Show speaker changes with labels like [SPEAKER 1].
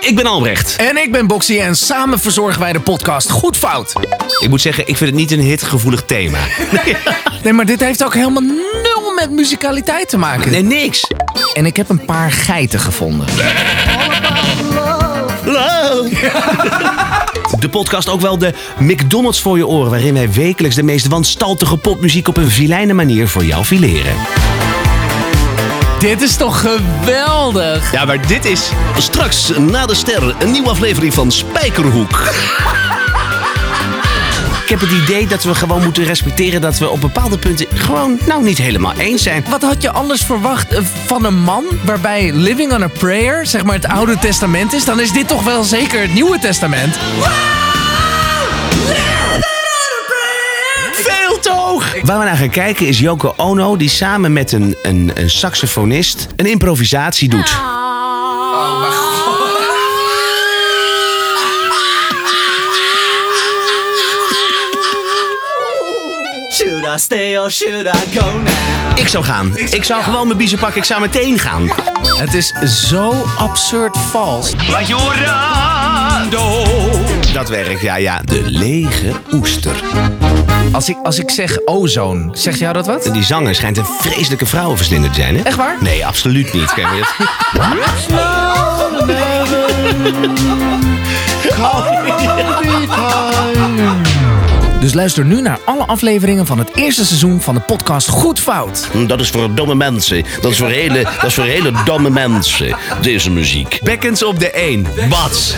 [SPEAKER 1] ik ben Albrecht.
[SPEAKER 2] En ik ben Boxy en samen verzorgen wij de podcast Goed Fout.
[SPEAKER 1] Ik moet zeggen, ik vind het niet een hitgevoelig thema.
[SPEAKER 2] Nee, maar dit heeft ook helemaal nul met muzikaliteit te maken.
[SPEAKER 1] Nee, niks.
[SPEAKER 2] En ik heb een paar geiten gevonden.
[SPEAKER 1] De podcast ook wel de McDonald's voor je oren... waarin wij wekelijks de meest wanstaltige popmuziek... op een vilijne manier voor jou fileren.
[SPEAKER 2] Dit is toch geweldig?
[SPEAKER 1] Ja, maar dit is... Straks na de sterren een nieuwe aflevering van Spijkerhoek. Ik heb het idee dat we gewoon moeten respecteren dat we op bepaalde punten gewoon nou niet helemaal eens zijn.
[SPEAKER 2] Wat had je anders verwacht eh, van een man waarbij Living on a Prayer, zeg maar het Oude Testament is? Dan is dit toch wel zeker het Nieuwe Testament?
[SPEAKER 1] Veel te hoog! Waar we naar gaan kijken is Yoko Ono die samen met een, een, een saxofonist een improvisatie doet. Ah.
[SPEAKER 3] Should I stay or should I go now?
[SPEAKER 1] Ik zou gaan. Ik zou gewoon mijn biezen pakken. Ik zou meteen gaan.
[SPEAKER 2] Het is zo absurd vals.
[SPEAKER 1] Dat werkt, ja, ja. De lege oester.
[SPEAKER 2] Als ik, als ik zeg ozone, zegt jou dat wat?
[SPEAKER 1] Die zanger schijnt een vreselijke vrouwenverslinder te zijn, hè?
[SPEAKER 2] Echt waar?
[SPEAKER 1] Nee, absoluut niet. Ken je dat?
[SPEAKER 2] Dus luister nu naar alle afleveringen van het eerste seizoen van de podcast Goed Fout.
[SPEAKER 1] Hm, Dat is voor domme mensen. Dat is voor hele, dat is voor hele domme mensen, deze muziek. Bekkens op de 1. Bats.